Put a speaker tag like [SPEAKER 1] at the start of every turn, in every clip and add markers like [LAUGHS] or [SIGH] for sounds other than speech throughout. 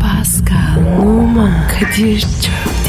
[SPEAKER 1] Pascal, Oman, Kadir çok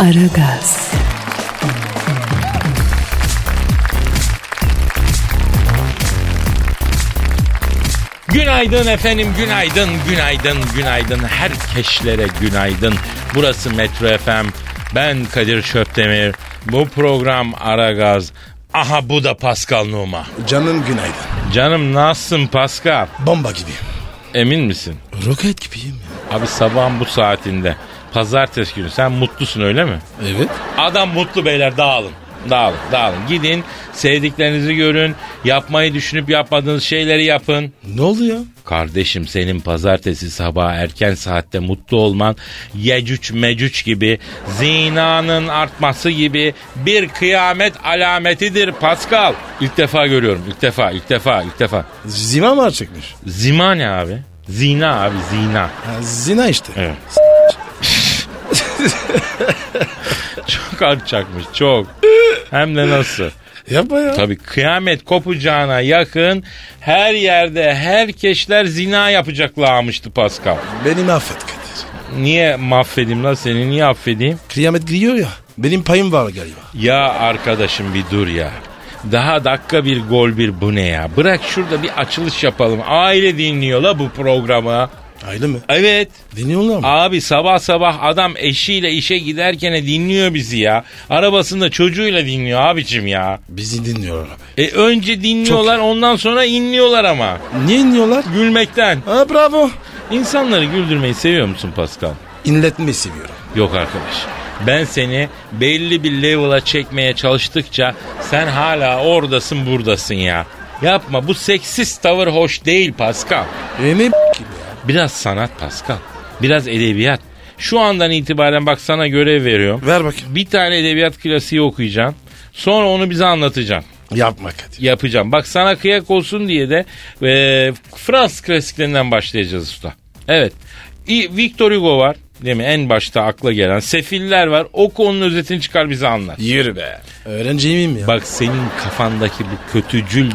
[SPEAKER 1] Aragaz,
[SPEAKER 2] Günaydın efendim, günaydın, günaydın, günaydın. Herkeşlere günaydın. Burası Metro FM. Ben Kadir Şöpdemir. Bu program Aragaz. Aha bu da Pascal Numa.
[SPEAKER 3] Canın günaydın.
[SPEAKER 2] Canım nasılsın Pascal?
[SPEAKER 3] Bomba gibi.
[SPEAKER 2] Emin misin?
[SPEAKER 3] Roket gibiyim ya.
[SPEAKER 2] Abi sabahın bu saatinde. Pazartesi günü sen mutlusun öyle mi?
[SPEAKER 3] Evet.
[SPEAKER 2] Adam mutlu beyler dağılın. Dağılın, dağılın. Gidin, sevdiklerinizi görün. Yapmayı düşünüp yapmadığınız şeyleri yapın.
[SPEAKER 3] Ne oldu ya?
[SPEAKER 2] Kardeşim senin pazartesi sabahı erken saatte mutlu olman yecüc mecüc gibi zinanın artması gibi bir kıyamet alametidir Pascal. İlk defa görüyorum ilk defa ilk defa ilk defa.
[SPEAKER 3] Zima mı çıkmış?
[SPEAKER 2] Zima ne abi? Zina abi zina.
[SPEAKER 3] Ha, zina işte.
[SPEAKER 2] Evet. [LAUGHS] Çok artacakmış çok. Hem de nasıl?
[SPEAKER 3] Yapma ya.
[SPEAKER 2] Tabii kıyamet kopacağına yakın her yerde herkeşler zina yapacaklarmıştı Pascal.
[SPEAKER 3] Beni affet Kadir.
[SPEAKER 2] Niye mahvedeyim lan seni niye affedeyim?
[SPEAKER 3] Kıyamet giriyor ya. Benim payım var galiba.
[SPEAKER 2] Ya arkadaşım bir dur ya. Daha dakika bir gol bir bu ne ya? Bırak şurada bir açılış yapalım. Aile dinliyor la bu programı.
[SPEAKER 3] Aile mi?
[SPEAKER 2] Evet.
[SPEAKER 3] Dinliyorlar mı?
[SPEAKER 2] Abi sabah sabah adam eşiyle işe giderken dinliyor bizi ya. Arabasında çocuğuyla dinliyor abicim ya.
[SPEAKER 3] Bizi dinliyorlar abi.
[SPEAKER 2] E önce dinliyorlar ondan sonra inliyorlar ama.
[SPEAKER 3] Niye dinliyorlar?
[SPEAKER 2] Gülmekten.
[SPEAKER 3] Ha bravo.
[SPEAKER 2] İnsanları güldürmeyi seviyor musun Pascal?
[SPEAKER 3] İnletmeyi seviyorum.
[SPEAKER 2] Yok arkadaş. Ben seni belli bir level'a çekmeye çalıştıkça sen hala oradasın buradasın ya. Yapma bu seksist tavır hoş değil Pascal.
[SPEAKER 3] E ne b- gibi ya?
[SPEAKER 2] Biraz sanat Pascal. Biraz edebiyat. Şu andan itibaren bak sana görev veriyorum.
[SPEAKER 3] Ver bakayım.
[SPEAKER 2] Bir tane edebiyat klasiği okuyacaksın. Sonra onu bize anlatacaksın.
[SPEAKER 3] Yapma Kadir.
[SPEAKER 2] Yapacağım. Bak sana kıyak olsun diye de e, Fransız klasiklerinden başlayacağız usta. Evet. İ- Victor Hugo var. Değil mi? En başta akla gelen. Sefiller var. Oku onun özetini çıkar bize anlat.
[SPEAKER 3] Yürü be. Öğrenci miyim ya?
[SPEAKER 2] Bak senin kafandaki bu kötücül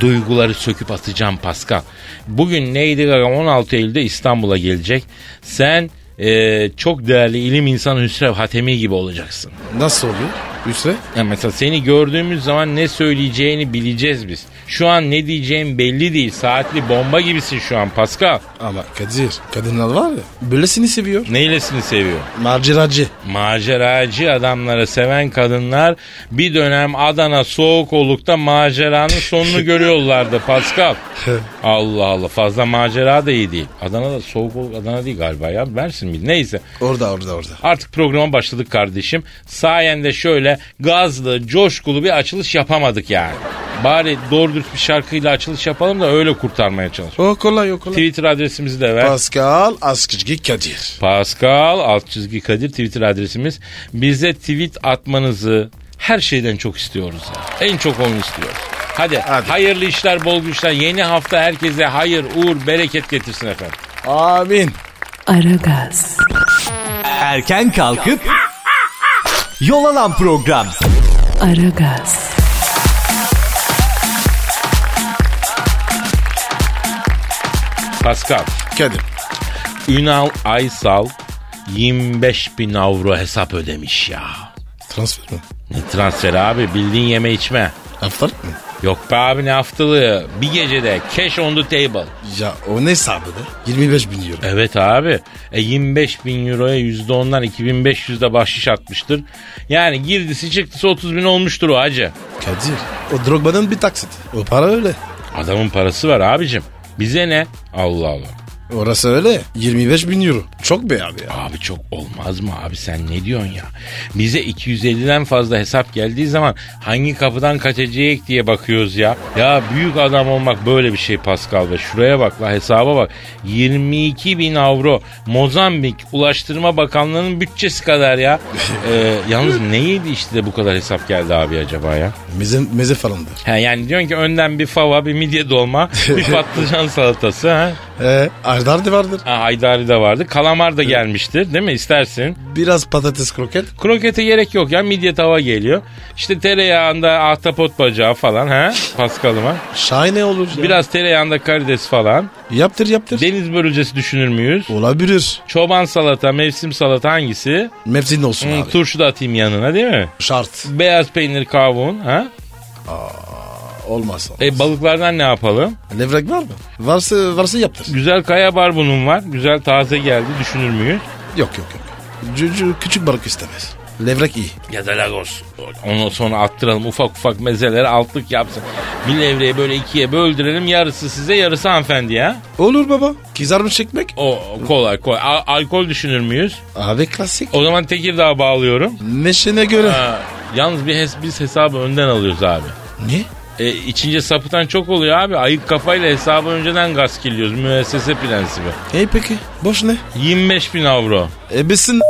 [SPEAKER 2] duyguları söküp atacağım Pascal. Bugün neydi Gaga 16 Eylül'de İstanbul'a gelecek. Sen e, çok değerli ilim insanı Hüsrev Hatemi gibi olacaksın.
[SPEAKER 3] Nasıl oluyor? Üsre?
[SPEAKER 2] Ya mesela seni gördüğümüz zaman ne söyleyeceğini bileceğiz biz. Şu an ne diyeceğin belli değil. Saatli bomba gibisin şu an Pascal.
[SPEAKER 3] Ama Kadir kadınlar var ya böylesini seviyor.
[SPEAKER 2] Neylesini seviyor?
[SPEAKER 3] Maceracı.
[SPEAKER 2] Maceracı adamları seven kadınlar bir dönem Adana soğuk olukta maceranın sonunu görüyorlardı Pascal. Allah Allah fazla macera da iyi değil. Adana'da soğuk oluk Adana değil galiba ya Mersin mi? Neyse
[SPEAKER 3] Orada orada orada.
[SPEAKER 2] artık programa başladık kardeşim. Sayende şöyle gazlı coşkulu bir açılış yapamadık yani. Bari doğru dürüst bir şarkıyla açılış yapalım da öyle kurtarmaya çalışalım.
[SPEAKER 3] O kolay o kolay.
[SPEAKER 2] Twitter adresimizi de ver.
[SPEAKER 3] Pascal Askizgi Kadir.
[SPEAKER 2] Pascal alt çizgi Kadir Twitter adresimiz. Bize tweet atmanızı her şeyden çok istiyoruz. ya. En çok onu istiyoruz. Hadi,
[SPEAKER 3] Hadi.
[SPEAKER 2] hayırlı işler, bol güçler. Yeni hafta herkese hayır, uğur, bereket getirsin efendim.
[SPEAKER 3] Amin.
[SPEAKER 1] Aragaz,
[SPEAKER 4] Erken kalkıp yol alan program.
[SPEAKER 1] Aragaz,
[SPEAKER 2] Pascal,
[SPEAKER 3] Kadir.
[SPEAKER 2] Ünal Aysal 25 bin avro hesap ödemiş ya.
[SPEAKER 3] Transfer mi?
[SPEAKER 2] Ne transferi abi bildiğin yeme içme.
[SPEAKER 3] Haftalık mı?
[SPEAKER 2] Yok be abi ne haftalığı. Bir gecede cash on the table.
[SPEAKER 3] Ya o ne hesabı be? 25 bin euro.
[SPEAKER 2] Evet abi. E 25 bin euroya %10'dan 2500'de bahşiş atmıştır. Yani girdisi çıktısı 30 bin olmuştur o hacı.
[SPEAKER 3] Kadir. O Drogba'nın bir taksit. O para öyle.
[SPEAKER 2] Adamın parası var abicim. Bize ne? Allah Allah.
[SPEAKER 3] Orası öyle. 25 bin euro. Çok be abi ya.
[SPEAKER 2] Abi çok olmaz mı abi sen ne diyorsun ya? Bize 250'den fazla hesap geldiği zaman hangi kapıdan kaçacak diye bakıyoruz ya. Ya büyük adam olmak böyle bir şey Pascal be. Şuraya bak la hesaba bak. 22 bin avro Mozambik Ulaştırma Bakanlığı'nın bütçesi kadar ya. Ee, yalnız ne yedi işte de bu kadar hesap geldi abi acaba ya?
[SPEAKER 3] Meze, meze falandır.
[SPEAKER 2] He, yani diyorsun ki önden bir fava, bir midye dolma, bir patlıcan salatası. Ha?
[SPEAKER 3] Ee, Ardar da vardır.
[SPEAKER 2] Ha, haydari de vardı. Kalamar da gelmiştir değil mi? İstersin.
[SPEAKER 3] Biraz patates kroket.
[SPEAKER 2] Krokete gerek yok ya midye tava geliyor. İşte tereyağında ahtapot bacağı falan ha Paskal'ıma.
[SPEAKER 3] Şahane olur. ya.
[SPEAKER 2] Biraz tereyağında karides falan.
[SPEAKER 3] Yaptır yaptır.
[SPEAKER 2] Deniz börülcesi düşünür müyüz?
[SPEAKER 3] Olabilir.
[SPEAKER 2] Çoban salata, mevsim salata hangisi?
[SPEAKER 3] Mevsim olsun
[SPEAKER 2] Hmm,
[SPEAKER 3] abi.
[SPEAKER 2] turşu da atayım yanına değil mi?
[SPEAKER 3] Şart.
[SPEAKER 2] Beyaz peynir kavun ha?
[SPEAKER 3] Olmazsa.
[SPEAKER 2] E balıklardan ne yapalım?
[SPEAKER 3] Levrek var mı? Varsa varsa yaptır.
[SPEAKER 2] Güzel kaya barbunun var. Güzel taze geldi düşünür müyüz?
[SPEAKER 3] Yok yok yok. Cücü küçük balık istemez. Levrek iyi.
[SPEAKER 2] Ya da lagos. Onu sonra attıralım ufak ufak mezeleri altlık yapsın. Bir levreyi böyle ikiye böldürelim yarısı size yarısı hanımefendiye. ha?
[SPEAKER 3] Olur baba. Kızarmış ekmek.
[SPEAKER 2] O kolay kolay. A- alkol düşünür müyüz?
[SPEAKER 3] Abi klasik.
[SPEAKER 2] O zaman Tekirdağ'a bağlıyorum.
[SPEAKER 3] Meşine göre.
[SPEAKER 2] Ha, yalnız bir hes- biz hesabı önden alıyoruz abi.
[SPEAKER 3] Ne?
[SPEAKER 2] E, içince sapıtan çok oluyor abi. Ayık kafayla hesabı önceden gaskiliyoruz. Müessese prensibi.
[SPEAKER 3] E peki. Boş ne?
[SPEAKER 2] 25 bin avro.
[SPEAKER 3] Ebesin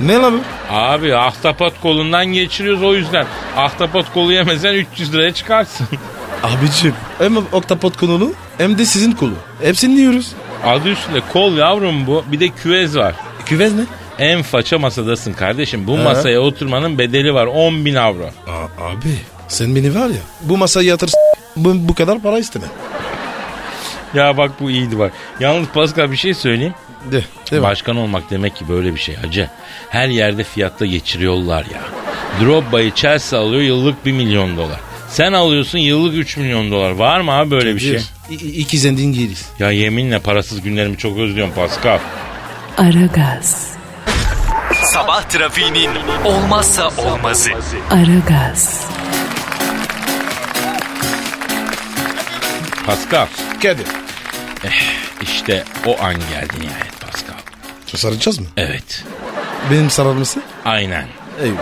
[SPEAKER 3] Ne lan bu?
[SPEAKER 2] Abi ahtapot kolundan geçiriyoruz o yüzden. Ahtapot kolu yemesen 300 liraya çıkarsın. [LAUGHS]
[SPEAKER 3] Abicim hem oktapot konulu hem de sizin kolu. Hepsini yiyoruz.
[SPEAKER 2] Adı üstünde kol yavrum bu. Bir de küvez var.
[SPEAKER 3] Küvez ne?
[SPEAKER 2] En faça masadasın kardeşim. Bu masaya oturmanın bedeli var. 10 bin avro.
[SPEAKER 3] Aa, abi sen beni var ya bu masaya yatır bu, bu kadar para istemem.
[SPEAKER 2] Ya bak bu iyiydi bak. Yalnız Pascal bir şey söyleyeyim.
[SPEAKER 3] De, de bak.
[SPEAKER 2] Başkan olmak demek ki böyle bir şey hacı. Her yerde fiyatta geçiriyorlar ya. Drogba'yı Chelsea alıyor yıllık 1 milyon dolar. Sen alıyorsun yıllık 3 milyon dolar. Var mı abi böyle bir şey?
[SPEAKER 3] iki zengin giyiriz.
[SPEAKER 2] Ya yeminle parasız günlerimi çok özlüyorum Pascal.
[SPEAKER 1] Aragaz.
[SPEAKER 4] Sabah trafiğinin olmazsa olmazı.
[SPEAKER 1] Aragaz.
[SPEAKER 2] Pascal
[SPEAKER 3] Kadir.
[SPEAKER 2] işte o an geldi nihayet Pascal.
[SPEAKER 3] Saracağız mı?
[SPEAKER 2] Evet
[SPEAKER 3] Benim sarılması?
[SPEAKER 2] aynen.
[SPEAKER 3] Eyvah.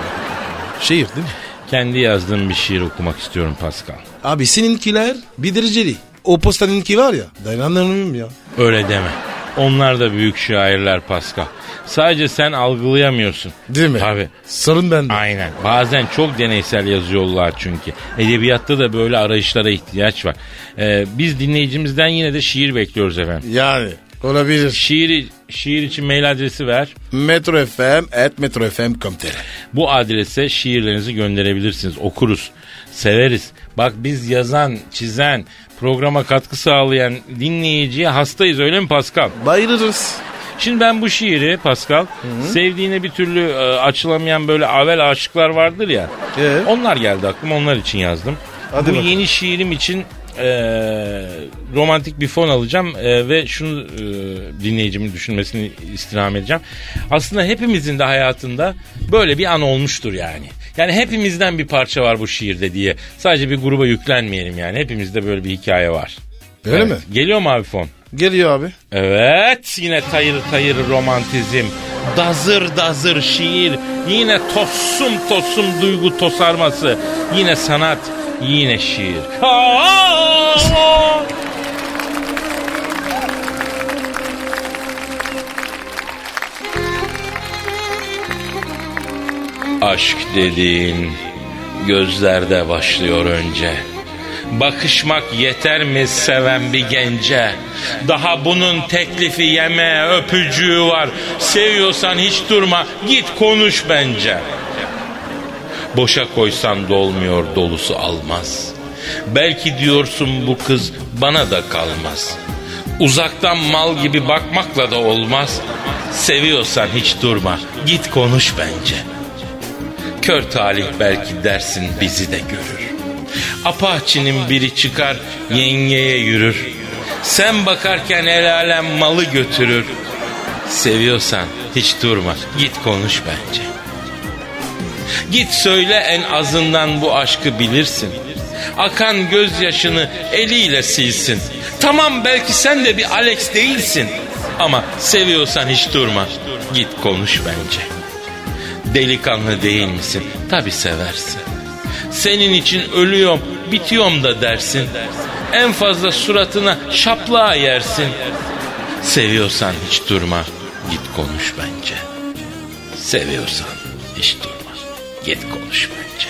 [SPEAKER 3] Şehir değil mi?
[SPEAKER 2] Kendi yazdığım bir şiir okumak istiyorum Pascal.
[SPEAKER 3] Abi seninkiler bir dereceli. O postaninki var ya dayanamıyorum ya.
[SPEAKER 2] Öyle deme. Onlar da büyük şairler Pascal. Sadece sen algılayamıyorsun.
[SPEAKER 3] Değil mi?
[SPEAKER 2] Tabii.
[SPEAKER 3] Sorun bende.
[SPEAKER 2] Aynen. Bazen çok deneysel yazıyorlar çünkü. Edebiyatta da böyle arayışlara ihtiyaç var. Ee, biz dinleyicimizden yine de şiir bekliyoruz efendim.
[SPEAKER 3] Yani olabilir.
[SPEAKER 2] Şiir, şiir için mail adresi ver.
[SPEAKER 3] Metro FM at metrofm.com.tr
[SPEAKER 2] Bu adrese şiirlerinizi gönderebilirsiniz. Okuruz. Severiz. Bak biz yazan, çizen, programa katkı sağlayan dinleyiciye hastayız öyle mi Pascal?
[SPEAKER 3] Bayılırız.
[SPEAKER 2] Şimdi ben bu şiiri Pascal sevdiğine bir türlü e, açılamayan böyle avel aşıklar vardır ya.
[SPEAKER 3] Ee?
[SPEAKER 2] Onlar geldi aklıma onlar için yazdım.
[SPEAKER 3] Hadi
[SPEAKER 2] bu
[SPEAKER 3] bakalım.
[SPEAKER 2] yeni şiirim için e, romantik bir fon alacağım e, ve şunu e, dinleyicimin düşünmesini istirham edeceğim. Aslında hepimizin de hayatında böyle bir an olmuştur yani. Yani hepimizden bir parça var bu şiirde diye. Sadece bir gruba yüklenmeyelim yani. Hepimizde böyle bir hikaye var.
[SPEAKER 3] Öyle
[SPEAKER 2] Evet.
[SPEAKER 3] mi?
[SPEAKER 2] Geliyor mu abi fon?
[SPEAKER 3] Geliyor abi.
[SPEAKER 2] Evet yine tayır tayır romantizm. Dazır dazır şiir. Yine tossum tossum duygu tosarması. Yine sanat. Yine şiir. Aa! Aşk dediğin gözlerde başlıyor önce. Bakışmak yeter mi seven bir gence? Daha bunun teklifi yeme öpücüğü var. Seviyorsan hiç durma git konuş bence. Boşa koysan dolmuyor dolusu almaz. Belki diyorsun bu kız bana da kalmaz. Uzaktan mal gibi bakmakla da olmaz. Seviyorsan hiç durma git konuş bence. Kör talih belki dersin bizi de görür. Apaçinin biri çıkar yengeye yürür. Sen bakarken el alem malı götürür. Seviyorsan hiç durma git konuş bence. Git söyle en azından bu aşkı bilirsin. Akan gözyaşını eliyle silsin. Tamam belki sen de bir Alex değilsin. Ama seviyorsan hiç durma. Git konuş bence. Delikanlı değil misin? Tabi seversin. Senin için ölüyorum, bitiyorum da dersin. En fazla suratına şaplığa yersin. Seviyorsan hiç durma. Git konuş bence. Seviyorsan hiç durma. Git konuş bence.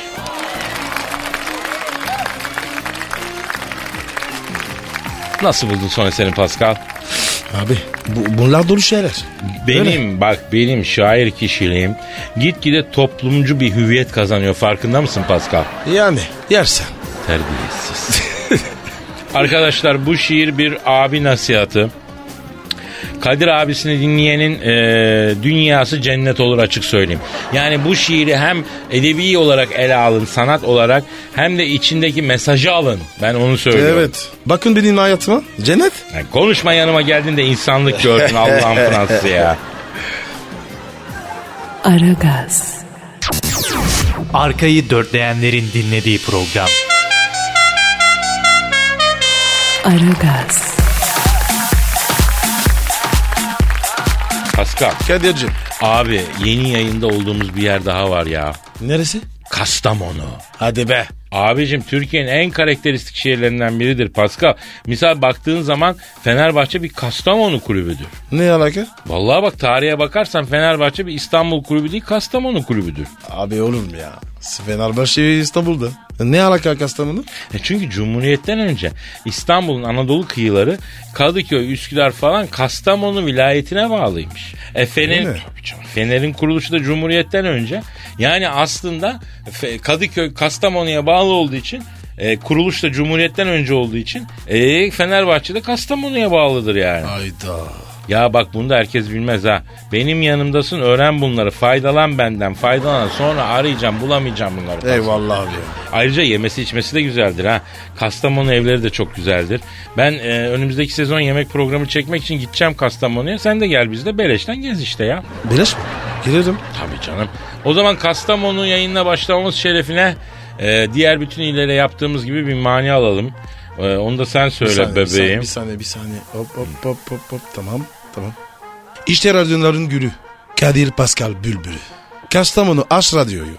[SPEAKER 2] Nasıl buldun son eserin Pascal?
[SPEAKER 3] Abi bu, bunlar dolu şeyler.
[SPEAKER 2] Benim
[SPEAKER 3] Öyle.
[SPEAKER 2] bak benim şair kişiliğim gitgide toplumcu bir hüviyet kazanıyor farkında mısın Pascal?
[SPEAKER 3] Yani yersen. [LAUGHS]
[SPEAKER 2] Terbiyesiz. Arkadaşlar bu şiir bir abi nasihatı. Kadir abisini dinleyenin e, dünyası cennet olur açık söyleyeyim. Yani bu şiiri hem edebi olarak ele alın, sanat olarak hem de içindeki mesajı alın. Ben onu söylüyorum.
[SPEAKER 3] Evet. Bakın benim hayatıma. Cennet.
[SPEAKER 2] Yani konuşma yanıma geldin de insanlık gördün
[SPEAKER 3] [LAUGHS]
[SPEAKER 2] Allah'ın Fransız ya.
[SPEAKER 1] Aragaz,
[SPEAKER 4] Arkayı dörtleyenlerin dinlediği program.
[SPEAKER 1] Aragaz,
[SPEAKER 2] Pascal
[SPEAKER 3] Kadir'cim.
[SPEAKER 2] abi yeni yayında olduğumuz bir yer daha var ya.
[SPEAKER 3] Neresi?
[SPEAKER 2] Kastamonu.
[SPEAKER 3] Hadi be.
[SPEAKER 2] Abicim Türkiye'nin en karakteristik şehirlerinden biridir Pascal. Misal baktığın zaman Fenerbahçe bir Kastamonu kulübüdür.
[SPEAKER 3] Ne alaka?
[SPEAKER 2] Vallahi bak tarihe bakarsan Fenerbahçe bir İstanbul kulübü değil Kastamonu kulübüdür.
[SPEAKER 3] Abi oğlum ya. Fenerbahçe İstanbul'da. Ne alaka Kastamonu?
[SPEAKER 2] E çünkü Cumhuriyet'ten önce İstanbul'un Anadolu kıyıları Kadıköy, Üsküdar falan Kastamonu vilayetine bağlıymış. E Fener'in,
[SPEAKER 3] mi?
[SPEAKER 2] Tabii canım, Fener'in kuruluşu da Cumhuriyet'ten önce. Yani aslında Fe- Kadıköy Kastamonu'ya bağlı olduğu için e, kuruluş da Cumhuriyet'ten önce olduğu için e, Fenerbahçe de Kastamonu'ya bağlıdır yani.
[SPEAKER 3] Hayda.
[SPEAKER 2] Ya bak bunu da herkes bilmez ha. Benim yanımdasın öğren bunları. Faydalan benden faydalan. Sonra arayacağım bulamayacağım bunları.
[SPEAKER 3] Eyvallah abi.
[SPEAKER 2] Ayrıca yemesi içmesi de güzeldir ha. Kastamonu evleri de çok güzeldir. Ben e, önümüzdeki sezon yemek programı çekmek için gideceğim Kastamonu'ya. Sen de gel bizde beleşten gez işte ya.
[SPEAKER 3] Beleş mi? Girerim.
[SPEAKER 2] Tabii canım. O zaman Kastamonu yayınına başlamamız şerefine e, diğer bütün illere yaptığımız gibi bir mani alalım. E, onu da sen söyle bebeğim. Hmm.
[SPEAKER 3] Bir saniye, bir saniye. Hop hop hop hop hop. Tamam, tamam. İşte radyoların gülü. Kadir Pascal Bülbülü. Kastamonu Aş Radyo'yu.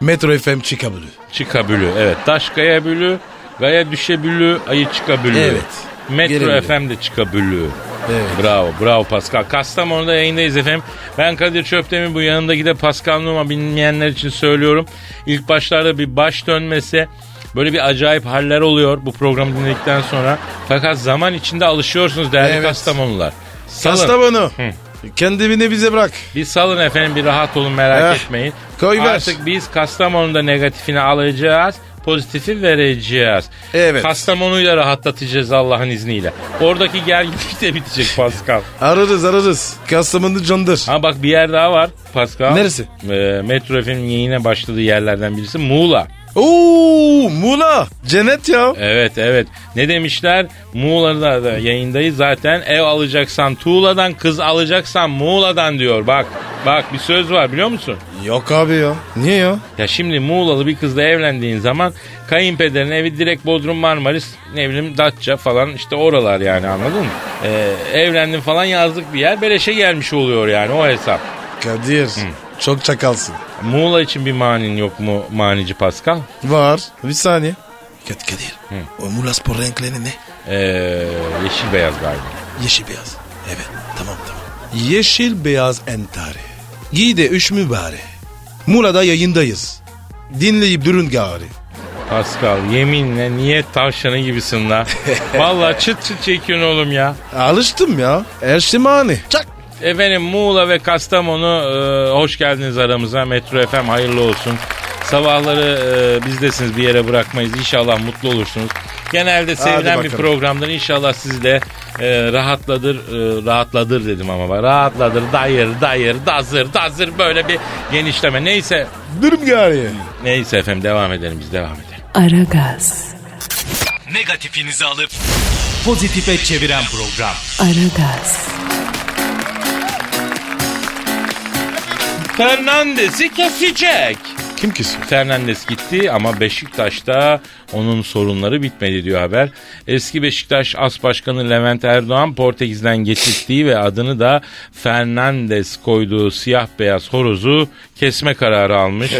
[SPEAKER 3] Metro FM Çikabülü.
[SPEAKER 2] Çıkabülü. Evet. Taş kayabülü. Gaya düşebülü. Ayı çıkabülü.
[SPEAKER 3] Evet.
[SPEAKER 2] Metro
[SPEAKER 3] Gelebilir.
[SPEAKER 2] FM de çıkabülü.
[SPEAKER 3] Evet.
[SPEAKER 2] Bravo, bravo Pascal. Kastamonu'da yayındayız efendim. Ben Kadir Çöptemir bu yanındaki de Pascal Numa bilmeyenler için söylüyorum. İlk başlarda bir baş dönmesi, böyle bir acayip haller oluyor bu programı dinledikten sonra. Fakat zaman içinde alışıyorsunuz değerli
[SPEAKER 3] Evet.
[SPEAKER 2] Kastamonular. Salın.
[SPEAKER 3] Kastamonu. Kendini bize bırak.
[SPEAKER 2] Bir salın efendim bir rahat olun merak
[SPEAKER 3] Eh,
[SPEAKER 2] etmeyin.
[SPEAKER 3] koy ver.
[SPEAKER 2] Artık biz Kastamonu'da negatifini alacağız. Pozitifi vereceğiz.
[SPEAKER 3] Evet.
[SPEAKER 2] Kastamonu'yu da rahatlatacağız Allah'ın izniyle. Oradaki gerginlik de bitecek Pascal.
[SPEAKER 3] Ararız ararız. Kastamonu candır.
[SPEAKER 2] Ha bak bir yer daha var Pascal.
[SPEAKER 3] Neresi?
[SPEAKER 2] Ee, Metro FM'in yayına başladığı yerlerden birisi Muğla.
[SPEAKER 3] Oo, Mula. Cennet ya.
[SPEAKER 2] Evet evet. Ne demişler? Muğla'da da yayındayız zaten. Ev alacaksan Tuğla'dan, kız alacaksan Muğla'dan diyor. Bak bak bir söz var biliyor musun?
[SPEAKER 3] Yok abi ya. Niye ya?
[SPEAKER 2] Ya şimdi Muğla'lı bir kızla evlendiğin zaman kayınpederin evi direkt Bodrum Marmaris ne bileyim Datça falan işte oralar yani anladın mı? Ee, evlendin falan yazlık bir yer beleşe gelmiş oluyor yani o hesap.
[SPEAKER 3] Kadir. Çok çakalsın.
[SPEAKER 2] Muğla için bir manin yok mu manici Pascal?
[SPEAKER 3] Var. Bir saniye. Kat Kadir. O Mula spor renkleri ne?
[SPEAKER 2] Ee, yeşil beyaz galiba.
[SPEAKER 3] Yeşil beyaz. Evet tamam tamam. Yeşil beyaz entari. Giy de üç mübare. Muğla'da yayındayız. Dinleyip durun gari.
[SPEAKER 2] Pascal yeminle niye tavşanı gibisin [LAUGHS] la? Valla çıt çıt çekiyorsun oğlum ya.
[SPEAKER 3] Alıştım ya. Erşimani. Çak.
[SPEAKER 2] Efendim Muğla ve Kastamonu e, hoş geldiniz aramıza. Metro FM hayırlı olsun. Sabahları e, bizdesiniz bir yere bırakmayız. İnşallah mutlu olursunuz. Genelde sevilen bir
[SPEAKER 3] bakalım.
[SPEAKER 2] programdır. İnşallah sizi de e, rahatladır, e, rahatladır dedim ama bak. Rahatladır, dayır, dayır, dazır, dazır böyle bir genişleme. Neyse,
[SPEAKER 3] Durun gari.
[SPEAKER 2] neyse efendim devam edelim biz devam edelim.
[SPEAKER 1] Aragaz,
[SPEAKER 4] Negatifinizi alıp pozitife çeviren program.
[SPEAKER 1] Aragaz,
[SPEAKER 2] Fernandes'i kesecek.
[SPEAKER 3] Kim kesiyor?
[SPEAKER 2] Fernandes gitti ama Beşiktaş'ta Onun sorunları bitmedi diyor haber. Eski Beşiktaş As Başkanı Levent Erdoğan Portekiz'den getirttiği ve adını da Fernandes koyduğu siyah beyaz horozu kesme kararı almış.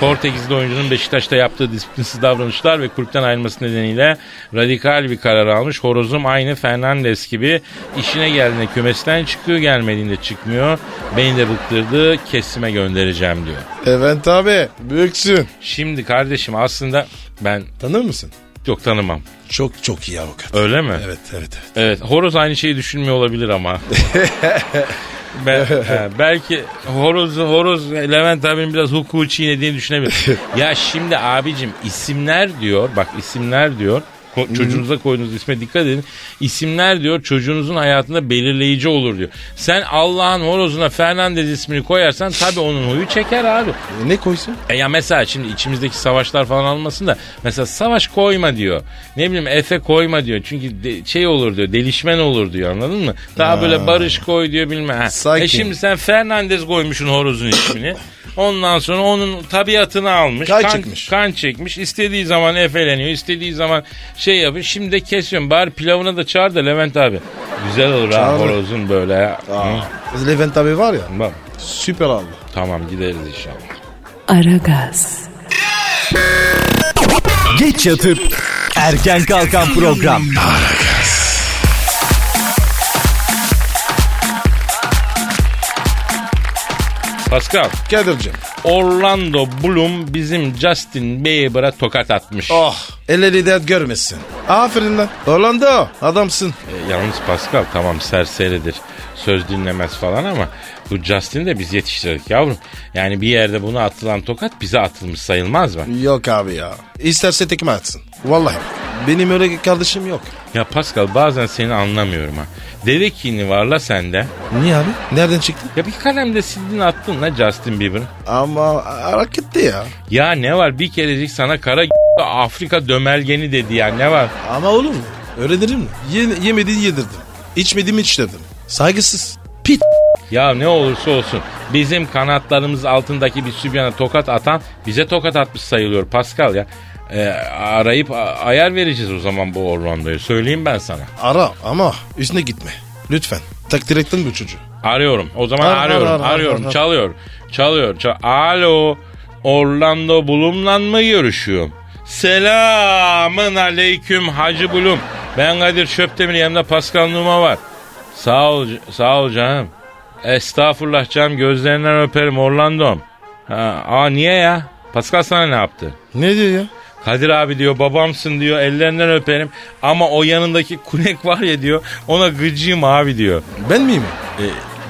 [SPEAKER 2] Portekizli oyuncunun Beşiktaş'ta yaptığı disiplinsiz davranışlar ve kulüpten ayrılması nedeniyle radikal bir karar almış. Horozum aynı Fernandes gibi işine geldiğinde kümesten çıkıyor gelmediğinde çıkmıyor. Beni de bıktırdı kesime göndereceğim diyor.
[SPEAKER 3] Evet abi büyüksün.
[SPEAKER 2] Şimdi kardeşim aslında ben
[SPEAKER 3] Tanır mısın?
[SPEAKER 2] yok tanımam.
[SPEAKER 3] Çok çok iyi avukat.
[SPEAKER 2] Öyle mi?
[SPEAKER 3] Evet evet evet.
[SPEAKER 2] Evet horoz aynı şeyi düşünmüyor olabilir ama. Be- he, belki horoz horoz Levent abinin biraz hukuku çiğnediğini düşünebilir. ya şimdi abicim isimler diyor bak isimler diyor Ko- çocuğunuza koyduğunuz isme dikkat edin. İsimler diyor çocuğunuzun hayatında belirleyici olur diyor. Sen Allah'ın horozuna Fernandez ismini koyarsan tabii onun huyu çeker abi.
[SPEAKER 3] E, ne koysun?
[SPEAKER 2] E ya mesela şimdi içimizdeki savaşlar falan almasın da mesela savaş koyma diyor. Ne bileyim Efe koyma diyor. Çünkü de- şey olur diyor. Delişmen olur diyor. Anladın mı? Daha böyle barış koy diyor bilmem. Ha.
[SPEAKER 3] Sakin.
[SPEAKER 2] E şimdi sen Fernandez koymuşsun horozun ismini. Ondan sonra onun tabiatını almış.
[SPEAKER 3] Kan çekmiş.
[SPEAKER 2] Kan çekmiş. İstediği zaman efeleniyor. istediği zaman şey yapıyor. Şimdi de kesiyorum. Bari pilavına da çağır da Levent abi. Güzel olur ha
[SPEAKER 3] Çağırırım.
[SPEAKER 2] horozun böyle ya. Hı.
[SPEAKER 3] Levent abi var ya
[SPEAKER 2] Bak,
[SPEAKER 3] süper aldı.
[SPEAKER 2] Tamam gideriz inşallah.
[SPEAKER 1] Aragaz,
[SPEAKER 4] Geç yatıp erken kalkan program.
[SPEAKER 2] Pascal.
[SPEAKER 3] Kadir'cim.
[SPEAKER 2] Orlando Bloom bizim Justin Bieber'a tokat atmış.
[SPEAKER 3] Oh. Elleri dert görmesin. Aferin lan. Orlando adamsın.
[SPEAKER 2] E, yalnız Pascal tamam serseridir. Söz dinlemez falan ama bu Justin'i de biz yetiştirdik yavrum. Yani bir yerde buna atılan tokat bize atılmış sayılmaz mı?
[SPEAKER 3] Yok abi ya. İsterse tekme atsın. Vallahi. Benim öyle kardeşim yok.
[SPEAKER 2] Ya Pascal bazen seni anlamıyorum ha. Deve kini varla sende.
[SPEAKER 3] Niye abi? Nereden çıktı?
[SPEAKER 2] Ya bir kalemde sildin attın la Justin Bieber'ın.
[SPEAKER 3] Ama hareketti ya.
[SPEAKER 2] Ya ne var bir kerecik sana kara [LAUGHS] Afrika dömelgeni dedi ya ne var?
[SPEAKER 3] Ama olur mu? Öğrenirim mi? Ye- yemediği yedirdim. İçmediğimi içtirdim. Saygısız. Pit.
[SPEAKER 2] Ya ne olursa olsun bizim kanatlarımız altındaki bir sübyana tokat atan bize tokat atmış sayılıyor Pascal ya. Ee, arayıp a- ayar vereceğiz o zaman bu Orlando'yu söyleyeyim ben sana.
[SPEAKER 3] Ara ama üstüne gitme. Lütfen. Takdir ettin bu çocuğu.
[SPEAKER 2] Arıyorum o zaman
[SPEAKER 3] Ar- ar-
[SPEAKER 2] arıyorum
[SPEAKER 3] ar- ar-
[SPEAKER 2] arıyorum
[SPEAKER 3] ar- ar-
[SPEAKER 2] çalıyor çalıyor çal- Alo Orlando Bulum'la mı görüşüyorum? Selamın aleyküm Hacı Bulum. Ben Kadir Şöptemir yanımda Pascal Numa var. Sağ ol, sağ ol canım. Estağfurullah canım gözlerinden öperim Orlando'm. Ha, aa niye ya? Pascal sana ne yaptı?
[SPEAKER 3] Ne diyor ya?
[SPEAKER 2] Kadir abi diyor babamsın diyor ellerinden öperim ama o yanındaki kunek var ya diyor ona gıcığım abi diyor.
[SPEAKER 3] Ben miyim?
[SPEAKER 2] E,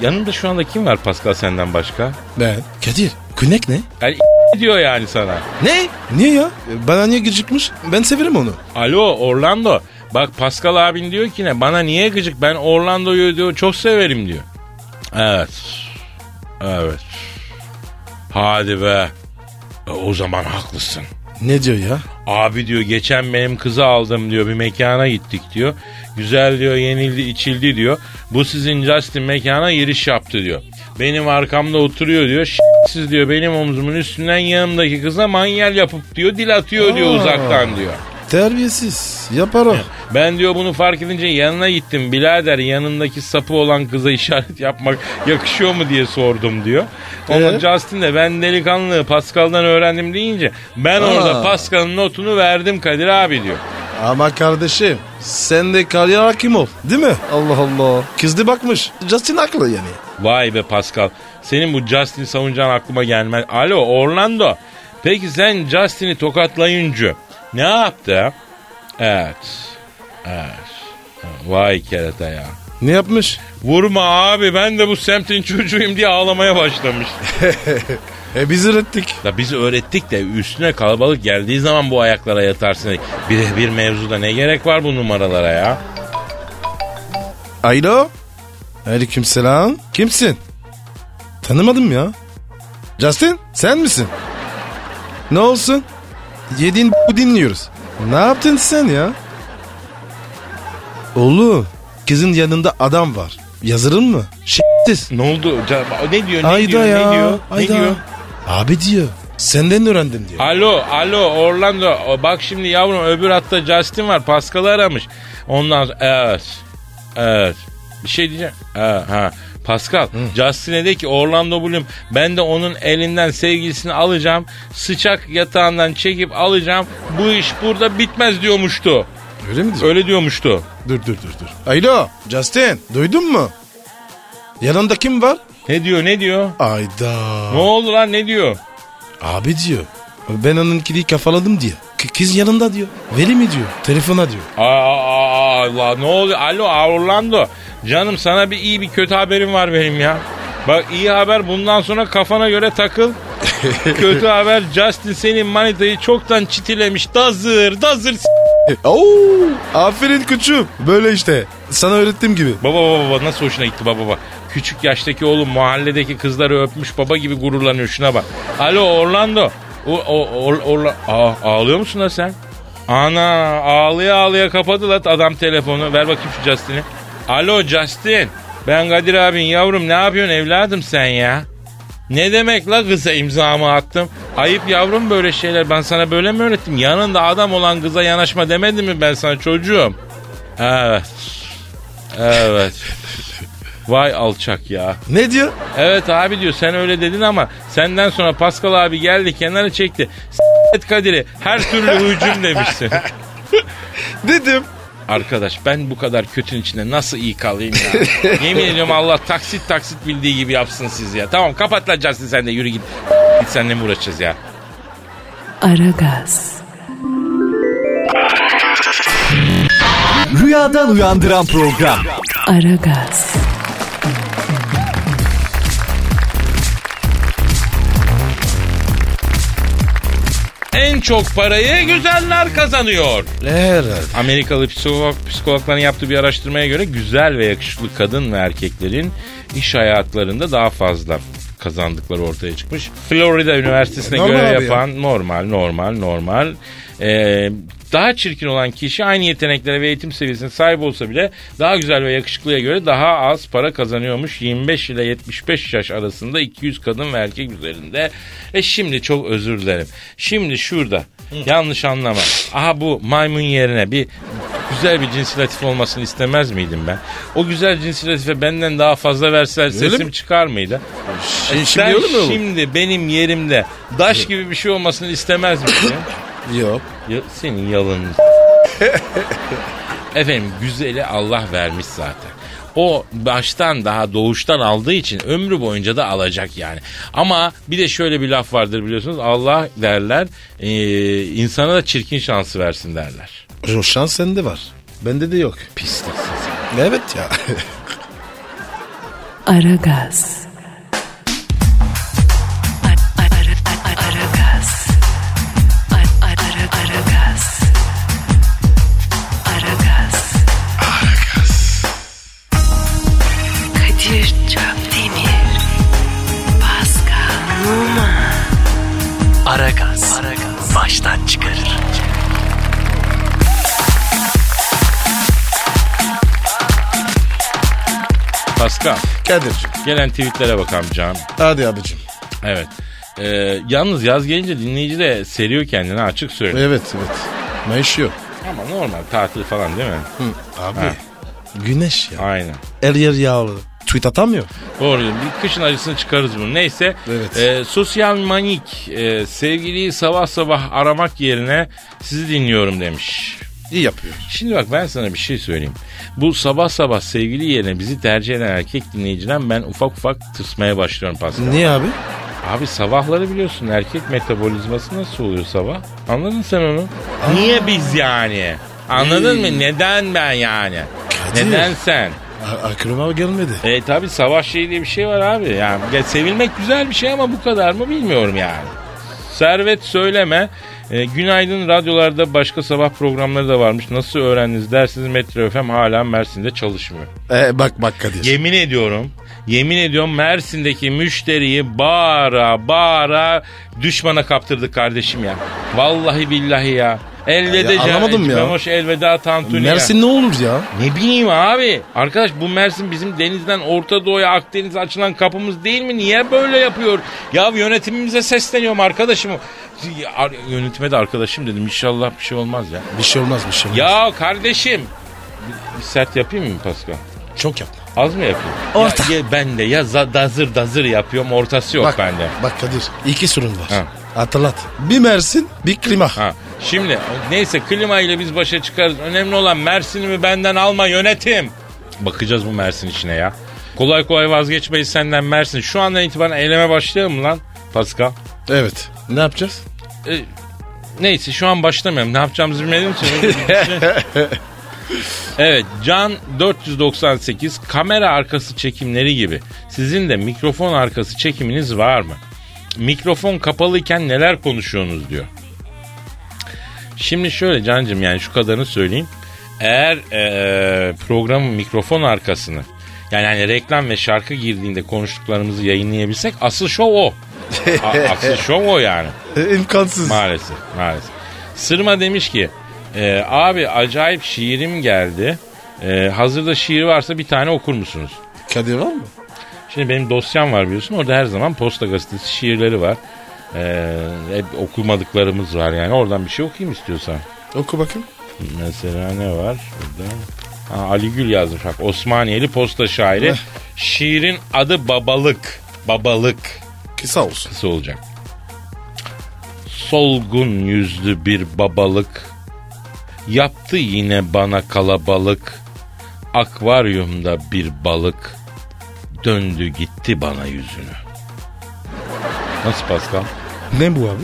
[SPEAKER 2] yanında şu anda kim var Pascal senden başka?
[SPEAKER 3] Ben. Kadir. Künek ne?
[SPEAKER 2] Yani diyor yani sana.
[SPEAKER 3] Ne? Niye ya? Bana niye gıcıkmış? Ben severim onu.
[SPEAKER 2] Alo Orlando. Bak Pascal abin diyor ki ne bana niye gıcık ben Orlando'yu diyor çok severim diyor. Evet. Evet. Hadi be. E, o zaman haklısın.
[SPEAKER 3] Ne diyor ya?
[SPEAKER 2] Abi diyor geçen benim kızı aldım diyor bir mekana gittik diyor. Güzel diyor yenildi içildi diyor. Bu sizin Justin mekana giriş yaptı diyor. Benim arkamda oturuyor diyor. Siz diyor benim omzumun üstünden yanımdaki kıza manyel yapıp diyor dil atıyor diyor
[SPEAKER 3] Aa.
[SPEAKER 2] uzaktan diyor.
[SPEAKER 3] Terbiyesiz. Yapar o.
[SPEAKER 2] Ben diyor bunu fark edince yanına gittim. Birader yanındaki sapı olan kıza işaret yapmak yakışıyor mu diye sordum diyor. Ama
[SPEAKER 3] Ee?
[SPEAKER 2] Justin de ben delikanlı Pascal'dan öğrendim deyince ben
[SPEAKER 3] Aa.
[SPEAKER 2] orada Pascal'ın notunu verdim Kadir abi diyor.
[SPEAKER 3] Ama kardeşim sen de kariyer hakim ol. Değil mi? Allah Allah. Kızdı bakmış. Justin haklı yani.
[SPEAKER 2] Vay be Pascal. Senin bu Justin savuncan aklıma gelmez. Alo Orlando. Peki sen Justin'i tokatlayınca ne yaptı? Evet. Evet. Vay kerata ya.
[SPEAKER 3] Ne [LAUGHS] yapmış?
[SPEAKER 2] Vurma abi ben de bu semtin çocuğuyum diye ağlamaya başlamış.
[SPEAKER 3] E biz ürettik.
[SPEAKER 2] Ya biz öğrettik de üstüne kalabalık geldiği zaman bu ayaklara yatarsın. Bir, bir mevzuda ne gerek var bu numaralara ya?
[SPEAKER 3] Alo. Aleyküm selam. Kimsin? Tanımadım ya. Justin sen misin? Ne olsun? Yediğin bu dinliyoruz. Ne yaptın sen ya? Oğlum kızın yanında adam var. Yazırın mı? Şitsiz.
[SPEAKER 2] Ne oldu? Ca- Ne diyor? Ne
[SPEAKER 3] Ayda
[SPEAKER 2] diyor?
[SPEAKER 3] ya.
[SPEAKER 2] Ne diyor? Ne
[SPEAKER 3] Ayda.
[SPEAKER 2] diyor?
[SPEAKER 3] Abi diyor. Senden öğrendim diyor.
[SPEAKER 2] Alo, alo Orlando. O, Bak şimdi yavrum öbür hatta Justin var. Pascal'ı aramış. Ondan sonra evet. Evet. Bir şey diyeceğim. Ha, ha. Pascal, Justin'e de ki Orlando Bloom ben de onun elinden sevgilisini alacağım. Sıçak yatağından çekip alacağım. Bu iş burada bitmez diyormuştu.
[SPEAKER 3] Öyle mi diyor?
[SPEAKER 2] Öyle diyormuştu.
[SPEAKER 3] Dur dur dur dur. Alo Justin duydun mu? Yanında kim var?
[SPEAKER 2] Ne diyor ne diyor?
[SPEAKER 3] Ayda.
[SPEAKER 2] Ne oldu lan ne diyor?
[SPEAKER 3] Abi diyor. Ben onunkini kafaladım diyor. K- kız yanında diyor. Veli mi diyor? Telefona diyor.
[SPEAKER 2] Aa, aa, Allah ne oluyor? Alo aa, Orlando. Canım sana bir iyi bir kötü haberim var benim ya. Bak iyi haber bundan sonra kafana göre takıl. kötü haber Justin senin manitayı çoktan çitilemiş. Dazır dazır. s-
[SPEAKER 3] Oo, aferin küçüm. Böyle işte. Sana öğrettiğim gibi.
[SPEAKER 2] Baba baba baba nasıl hoşuna gitti baba baba. Küçük yaştaki oğlum mahalledeki kızları öpmüş baba gibi gururlanıyor şuna bak. Alo Orlando. O, o, o, Orla- Aa, ağlıyor musun lan sen? Ana ağlaya ağlaya kapadı lan adam telefonu. Ver bakayım şu Justin'i. Alo Justin. Ben Kadir abin yavrum ne yapıyorsun evladım sen ya? Ne demek la kıza imzamı attım? Ayıp yavrum böyle şeyler. Ben sana böyle mi öğrettim? Yanında adam olan kıza yanaşma demedim mi ben sana çocuğum? Evet. Evet. Vay alçak ya.
[SPEAKER 3] Ne diyor?
[SPEAKER 2] Evet abi diyor sen öyle dedin ama senden sonra Pascal abi geldi kenara çekti. S**t Kadir'i her türlü hücum demişsin.
[SPEAKER 3] Dedim.
[SPEAKER 2] Arkadaş ben bu kadar kötünün içinde nasıl iyi kalayım ya? Yemin ediyorum Allah taksit taksit bildiği gibi yapsın siz ya. Tamam kapat lan Justin sen de yürü git. Git seninle mi uğraşacağız ya?
[SPEAKER 1] Aragaz,
[SPEAKER 4] Rüyadan uyandıran program.
[SPEAKER 1] Aragaz,
[SPEAKER 2] En çok parayı güzeller kazanıyor.
[SPEAKER 3] Herhalde.
[SPEAKER 2] Amerikalı psikolog, psikologların yaptığı bir araştırmaya göre güzel ve yakışıklı kadın ve erkeklerin iş hayatlarında daha fazla kazandıkları ortaya çıkmış. Florida Üniversitesi'ne
[SPEAKER 3] Normal
[SPEAKER 2] göre
[SPEAKER 3] abi
[SPEAKER 2] yapan normal normal normal. Ee, daha çirkin olan kişi aynı yeteneklere ve eğitim seviyesine sahip olsa bile daha güzel ve yakışıklıya göre daha az para kazanıyormuş. 25 ile 75 yaş arasında 200 kadın ve erkek üzerinde. E şimdi çok özür dilerim. Şimdi şurada yanlış anlama. Aha bu maymun yerine bir güzel bir cinsilatif olmasını istemez miydim ben? O güzel cinsilatife benden daha fazla verseler sesim
[SPEAKER 3] mi?
[SPEAKER 2] çıkar mıydı?
[SPEAKER 3] Şimdi,
[SPEAKER 2] Sen
[SPEAKER 3] şimdi olur mu? oğlum?
[SPEAKER 2] E, şimdi benim yerimde daş gibi bir şey olmasını istemez
[SPEAKER 3] [LAUGHS]
[SPEAKER 2] miydin?
[SPEAKER 3] Yok.
[SPEAKER 2] Ya
[SPEAKER 3] [LAUGHS]
[SPEAKER 2] senin yalanın. Efendim güzeli Allah vermiş zaten. O baştan daha doğuştan aldığı için ömrü boyunca da alacak yani. Ama bir de şöyle bir laf vardır biliyorsunuz. Allah derler eee, insana da çirkin şansı versin derler.
[SPEAKER 3] O şans sende var. Bende de yok.
[SPEAKER 2] Pisliksin sen.
[SPEAKER 3] Evet ya. [LAUGHS]
[SPEAKER 1] Aragaz. Ar- ar- ar- ar- Aragaz. Ar- ar- ar- Aragaz. Aragaz. Kadir Çöptemir. Pascal Numa.
[SPEAKER 4] Aragaz. Baştan çıkarır.
[SPEAKER 2] Pascal
[SPEAKER 3] Kadir'cim.
[SPEAKER 2] gelen tweetlere bak amcam.
[SPEAKER 3] Hadi abicim.
[SPEAKER 2] Evet. Eee, yalnız yaz gelince dinleyici de seriyor kendini açık söylüyor.
[SPEAKER 3] Evet evet. Mayış yok.
[SPEAKER 2] Ama normal tatil falan değil mi?
[SPEAKER 3] Abi.
[SPEAKER 2] Ha.
[SPEAKER 3] Güneş ya.
[SPEAKER 2] Aynen.
[SPEAKER 3] Her yer yağlı. Tweet atamıyor.
[SPEAKER 2] Doğru. diyorsun. Bir kışın acısını çıkarız bunu. Neyse.
[SPEAKER 3] Evet.
[SPEAKER 2] e, sosyal manik e, sevgiliyi sabah sabah aramak yerine sizi dinliyorum demiş.
[SPEAKER 3] İyi yapıyor.
[SPEAKER 2] Şimdi bak ben sana bir şey söyleyeyim. Bu sabah sabah sevgili yerine bizi tercih eden erkek dinleyiciden ben ufak ufak tırsmaya başlıyorum Pascal.
[SPEAKER 3] Niye abi?
[SPEAKER 2] Abi sabahları biliyorsun erkek metabolizması nasıl oluyor sabah? Anladın sen onu? Niye biz yani? Anladın mı? Neden ben yani?
[SPEAKER 3] Kadir.
[SPEAKER 2] Neden sen?
[SPEAKER 3] A- aklıma gelmedi.
[SPEAKER 2] E tabi savaş şeyi diye bir şey var abi. Yani ya sevilmek güzel bir şey ama bu kadar mı bilmiyorum yani. Servet söyleme. E, günaydın radyolarda başka sabah programları da varmış. Nasıl öğrendiniz dersiniz Metro FM hala Mersin'de çalışmıyor.
[SPEAKER 3] E, bak bak Kadir.
[SPEAKER 2] Yemin ediyorum. Yemin ediyorum Mersin'deki müşteriyi bağıra bağıra düşmana kaptırdık kardeşim ya. Vallahi billahi ya. Elveda
[SPEAKER 3] Ya, anlamadım ya.
[SPEAKER 2] Camış, elveda tantuni.
[SPEAKER 3] Mersin ne olur ya?
[SPEAKER 2] Ne bileyim abi. Arkadaş bu Mersin bizim denizden Orta Doğu'ya Akdeniz'e açılan kapımız değil mi? Niye böyle yapıyor? Ya yönetimimize sesleniyorum arkadaşım. Ya, ar- Yönetime de arkadaşım dedim. İnşallah bir şey olmaz ya.
[SPEAKER 3] Bir şey olmaz bir şey olmaz.
[SPEAKER 2] Ya kardeşim. Bir, bir sert yapayım mı Pascal?
[SPEAKER 3] Çok yapma.
[SPEAKER 2] Az mı yapayım?
[SPEAKER 4] Orta.
[SPEAKER 2] Ya, ya ben de ya za- dazır dazır yapıyorum ortası yok
[SPEAKER 3] bak,
[SPEAKER 2] bende.
[SPEAKER 3] Bak Kadir iki sorun var.
[SPEAKER 2] Ha.
[SPEAKER 3] Hatırlat. Bir Mersin bir klima.
[SPEAKER 2] Ha. Şimdi neyse klima ile biz başa çıkarız. Önemli olan Mersin'imi benden alma yönetim. Bakacağız bu Mersin işine ya. Kolay kolay vazgeçmeyiz senden Mersin. Şu andan itibaren eyleme başlayalım mı lan Pascal?
[SPEAKER 3] Evet. Ne yapacağız?
[SPEAKER 2] E, neyse şu an başlamıyorum. Ne yapacağımızı bilmediğim için. evet Can 498 kamera arkası çekimleri gibi sizin de mikrofon arkası çekiminiz var mı? Mikrofon kapalıyken neler konuşuyorsunuz diyor. Şimdi şöyle Can'cığım yani şu kadarını söyleyeyim. Eğer eee, programın mikrofon arkasını yani hani reklam ve şarkı girdiğinde konuştuklarımızı yayınlayabilsek asıl şov o. A- asıl şov o yani.
[SPEAKER 3] E, imkansız.
[SPEAKER 2] Maalesef maalesef. Sırma demiş ki e, abi acayip şiirim geldi. E, hazırda şiir varsa bir tane okur musunuz?
[SPEAKER 3] Kadir var mı?
[SPEAKER 2] Şimdi benim dosyam var biliyorsun orada her zaman posta gazetesi şiirleri var. E, hep okumadıklarımız var yani oradan bir şey okuyayım istiyorsan.
[SPEAKER 3] Oku bakayım.
[SPEAKER 2] Mesela ne var burada? Ha, Ali Gül yazmış bak Osmaniyeli posta şairi. Şiirin adı babalık. Babalık
[SPEAKER 3] Kısa olsun.
[SPEAKER 2] kısa olacak. Solgun yüzlü bir babalık yaptı yine bana kalabalık. Akvaryumda bir balık döndü gitti bana yüzünü. Nasıl Pascal?
[SPEAKER 3] Ne bu abi?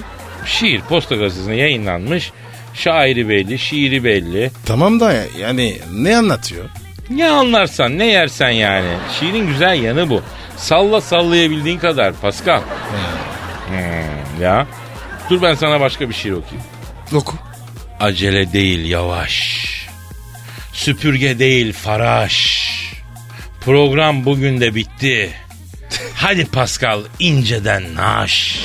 [SPEAKER 2] Şiir Posta Gazetesi'nde yayınlanmış. Şairi belli, şiiri belli.
[SPEAKER 3] Tamam da yani ne anlatıyor?
[SPEAKER 2] Ne anlarsan, ne yersen yani. Şiirin güzel yanı bu. Salla sallayabildiğin kadar Pascal. Hmm, ya. Dur ben sana başka bir şiir okuyayım.
[SPEAKER 3] Oku.
[SPEAKER 2] Acele değil yavaş. Süpürge değil faraş. Program bugün de [LAUGHS] bitti. Hadi Pascal inceden naş.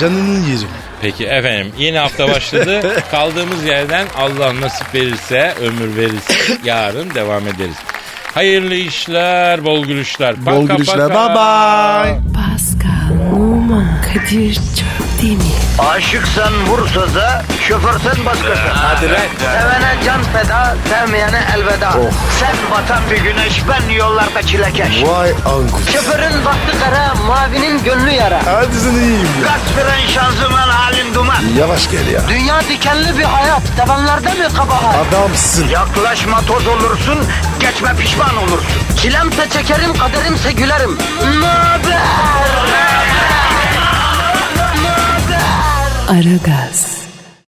[SPEAKER 3] Canının yerim.
[SPEAKER 2] Peki efendim yeni hafta başladı. [LAUGHS] Kaldığımız yerden Allah nasip verirse, ömür verirse yarın devam ederiz. Hayırlı işler, bol gülüşler.
[SPEAKER 3] Bol gülüşler. Bye bye.
[SPEAKER 1] Pascal, Oman, Kadir çok değil mi?
[SPEAKER 5] Aşıksan vursa da, şoförsen başkasın. Hadi Sevene can feda, sevmeyene elveda. Sen batan bir güneş, ben yollarda çilekeş.
[SPEAKER 3] Vay anku.
[SPEAKER 5] Şoförün baktı kara, mavinin gönlü yara.
[SPEAKER 3] Hadi sen iyiyim ya.
[SPEAKER 5] Kasperen şanzıman halin duman.
[SPEAKER 3] Yavaş gel ya.
[SPEAKER 5] Dünya dikenli bir hayat, sevenlerde mi kabahar?
[SPEAKER 3] Adamsın.
[SPEAKER 5] Yaklaşma toz olursun, geçme pişman olursun. Çilemse çekerim, kaderimse gülerim. Möber!
[SPEAKER 1] Aragaz.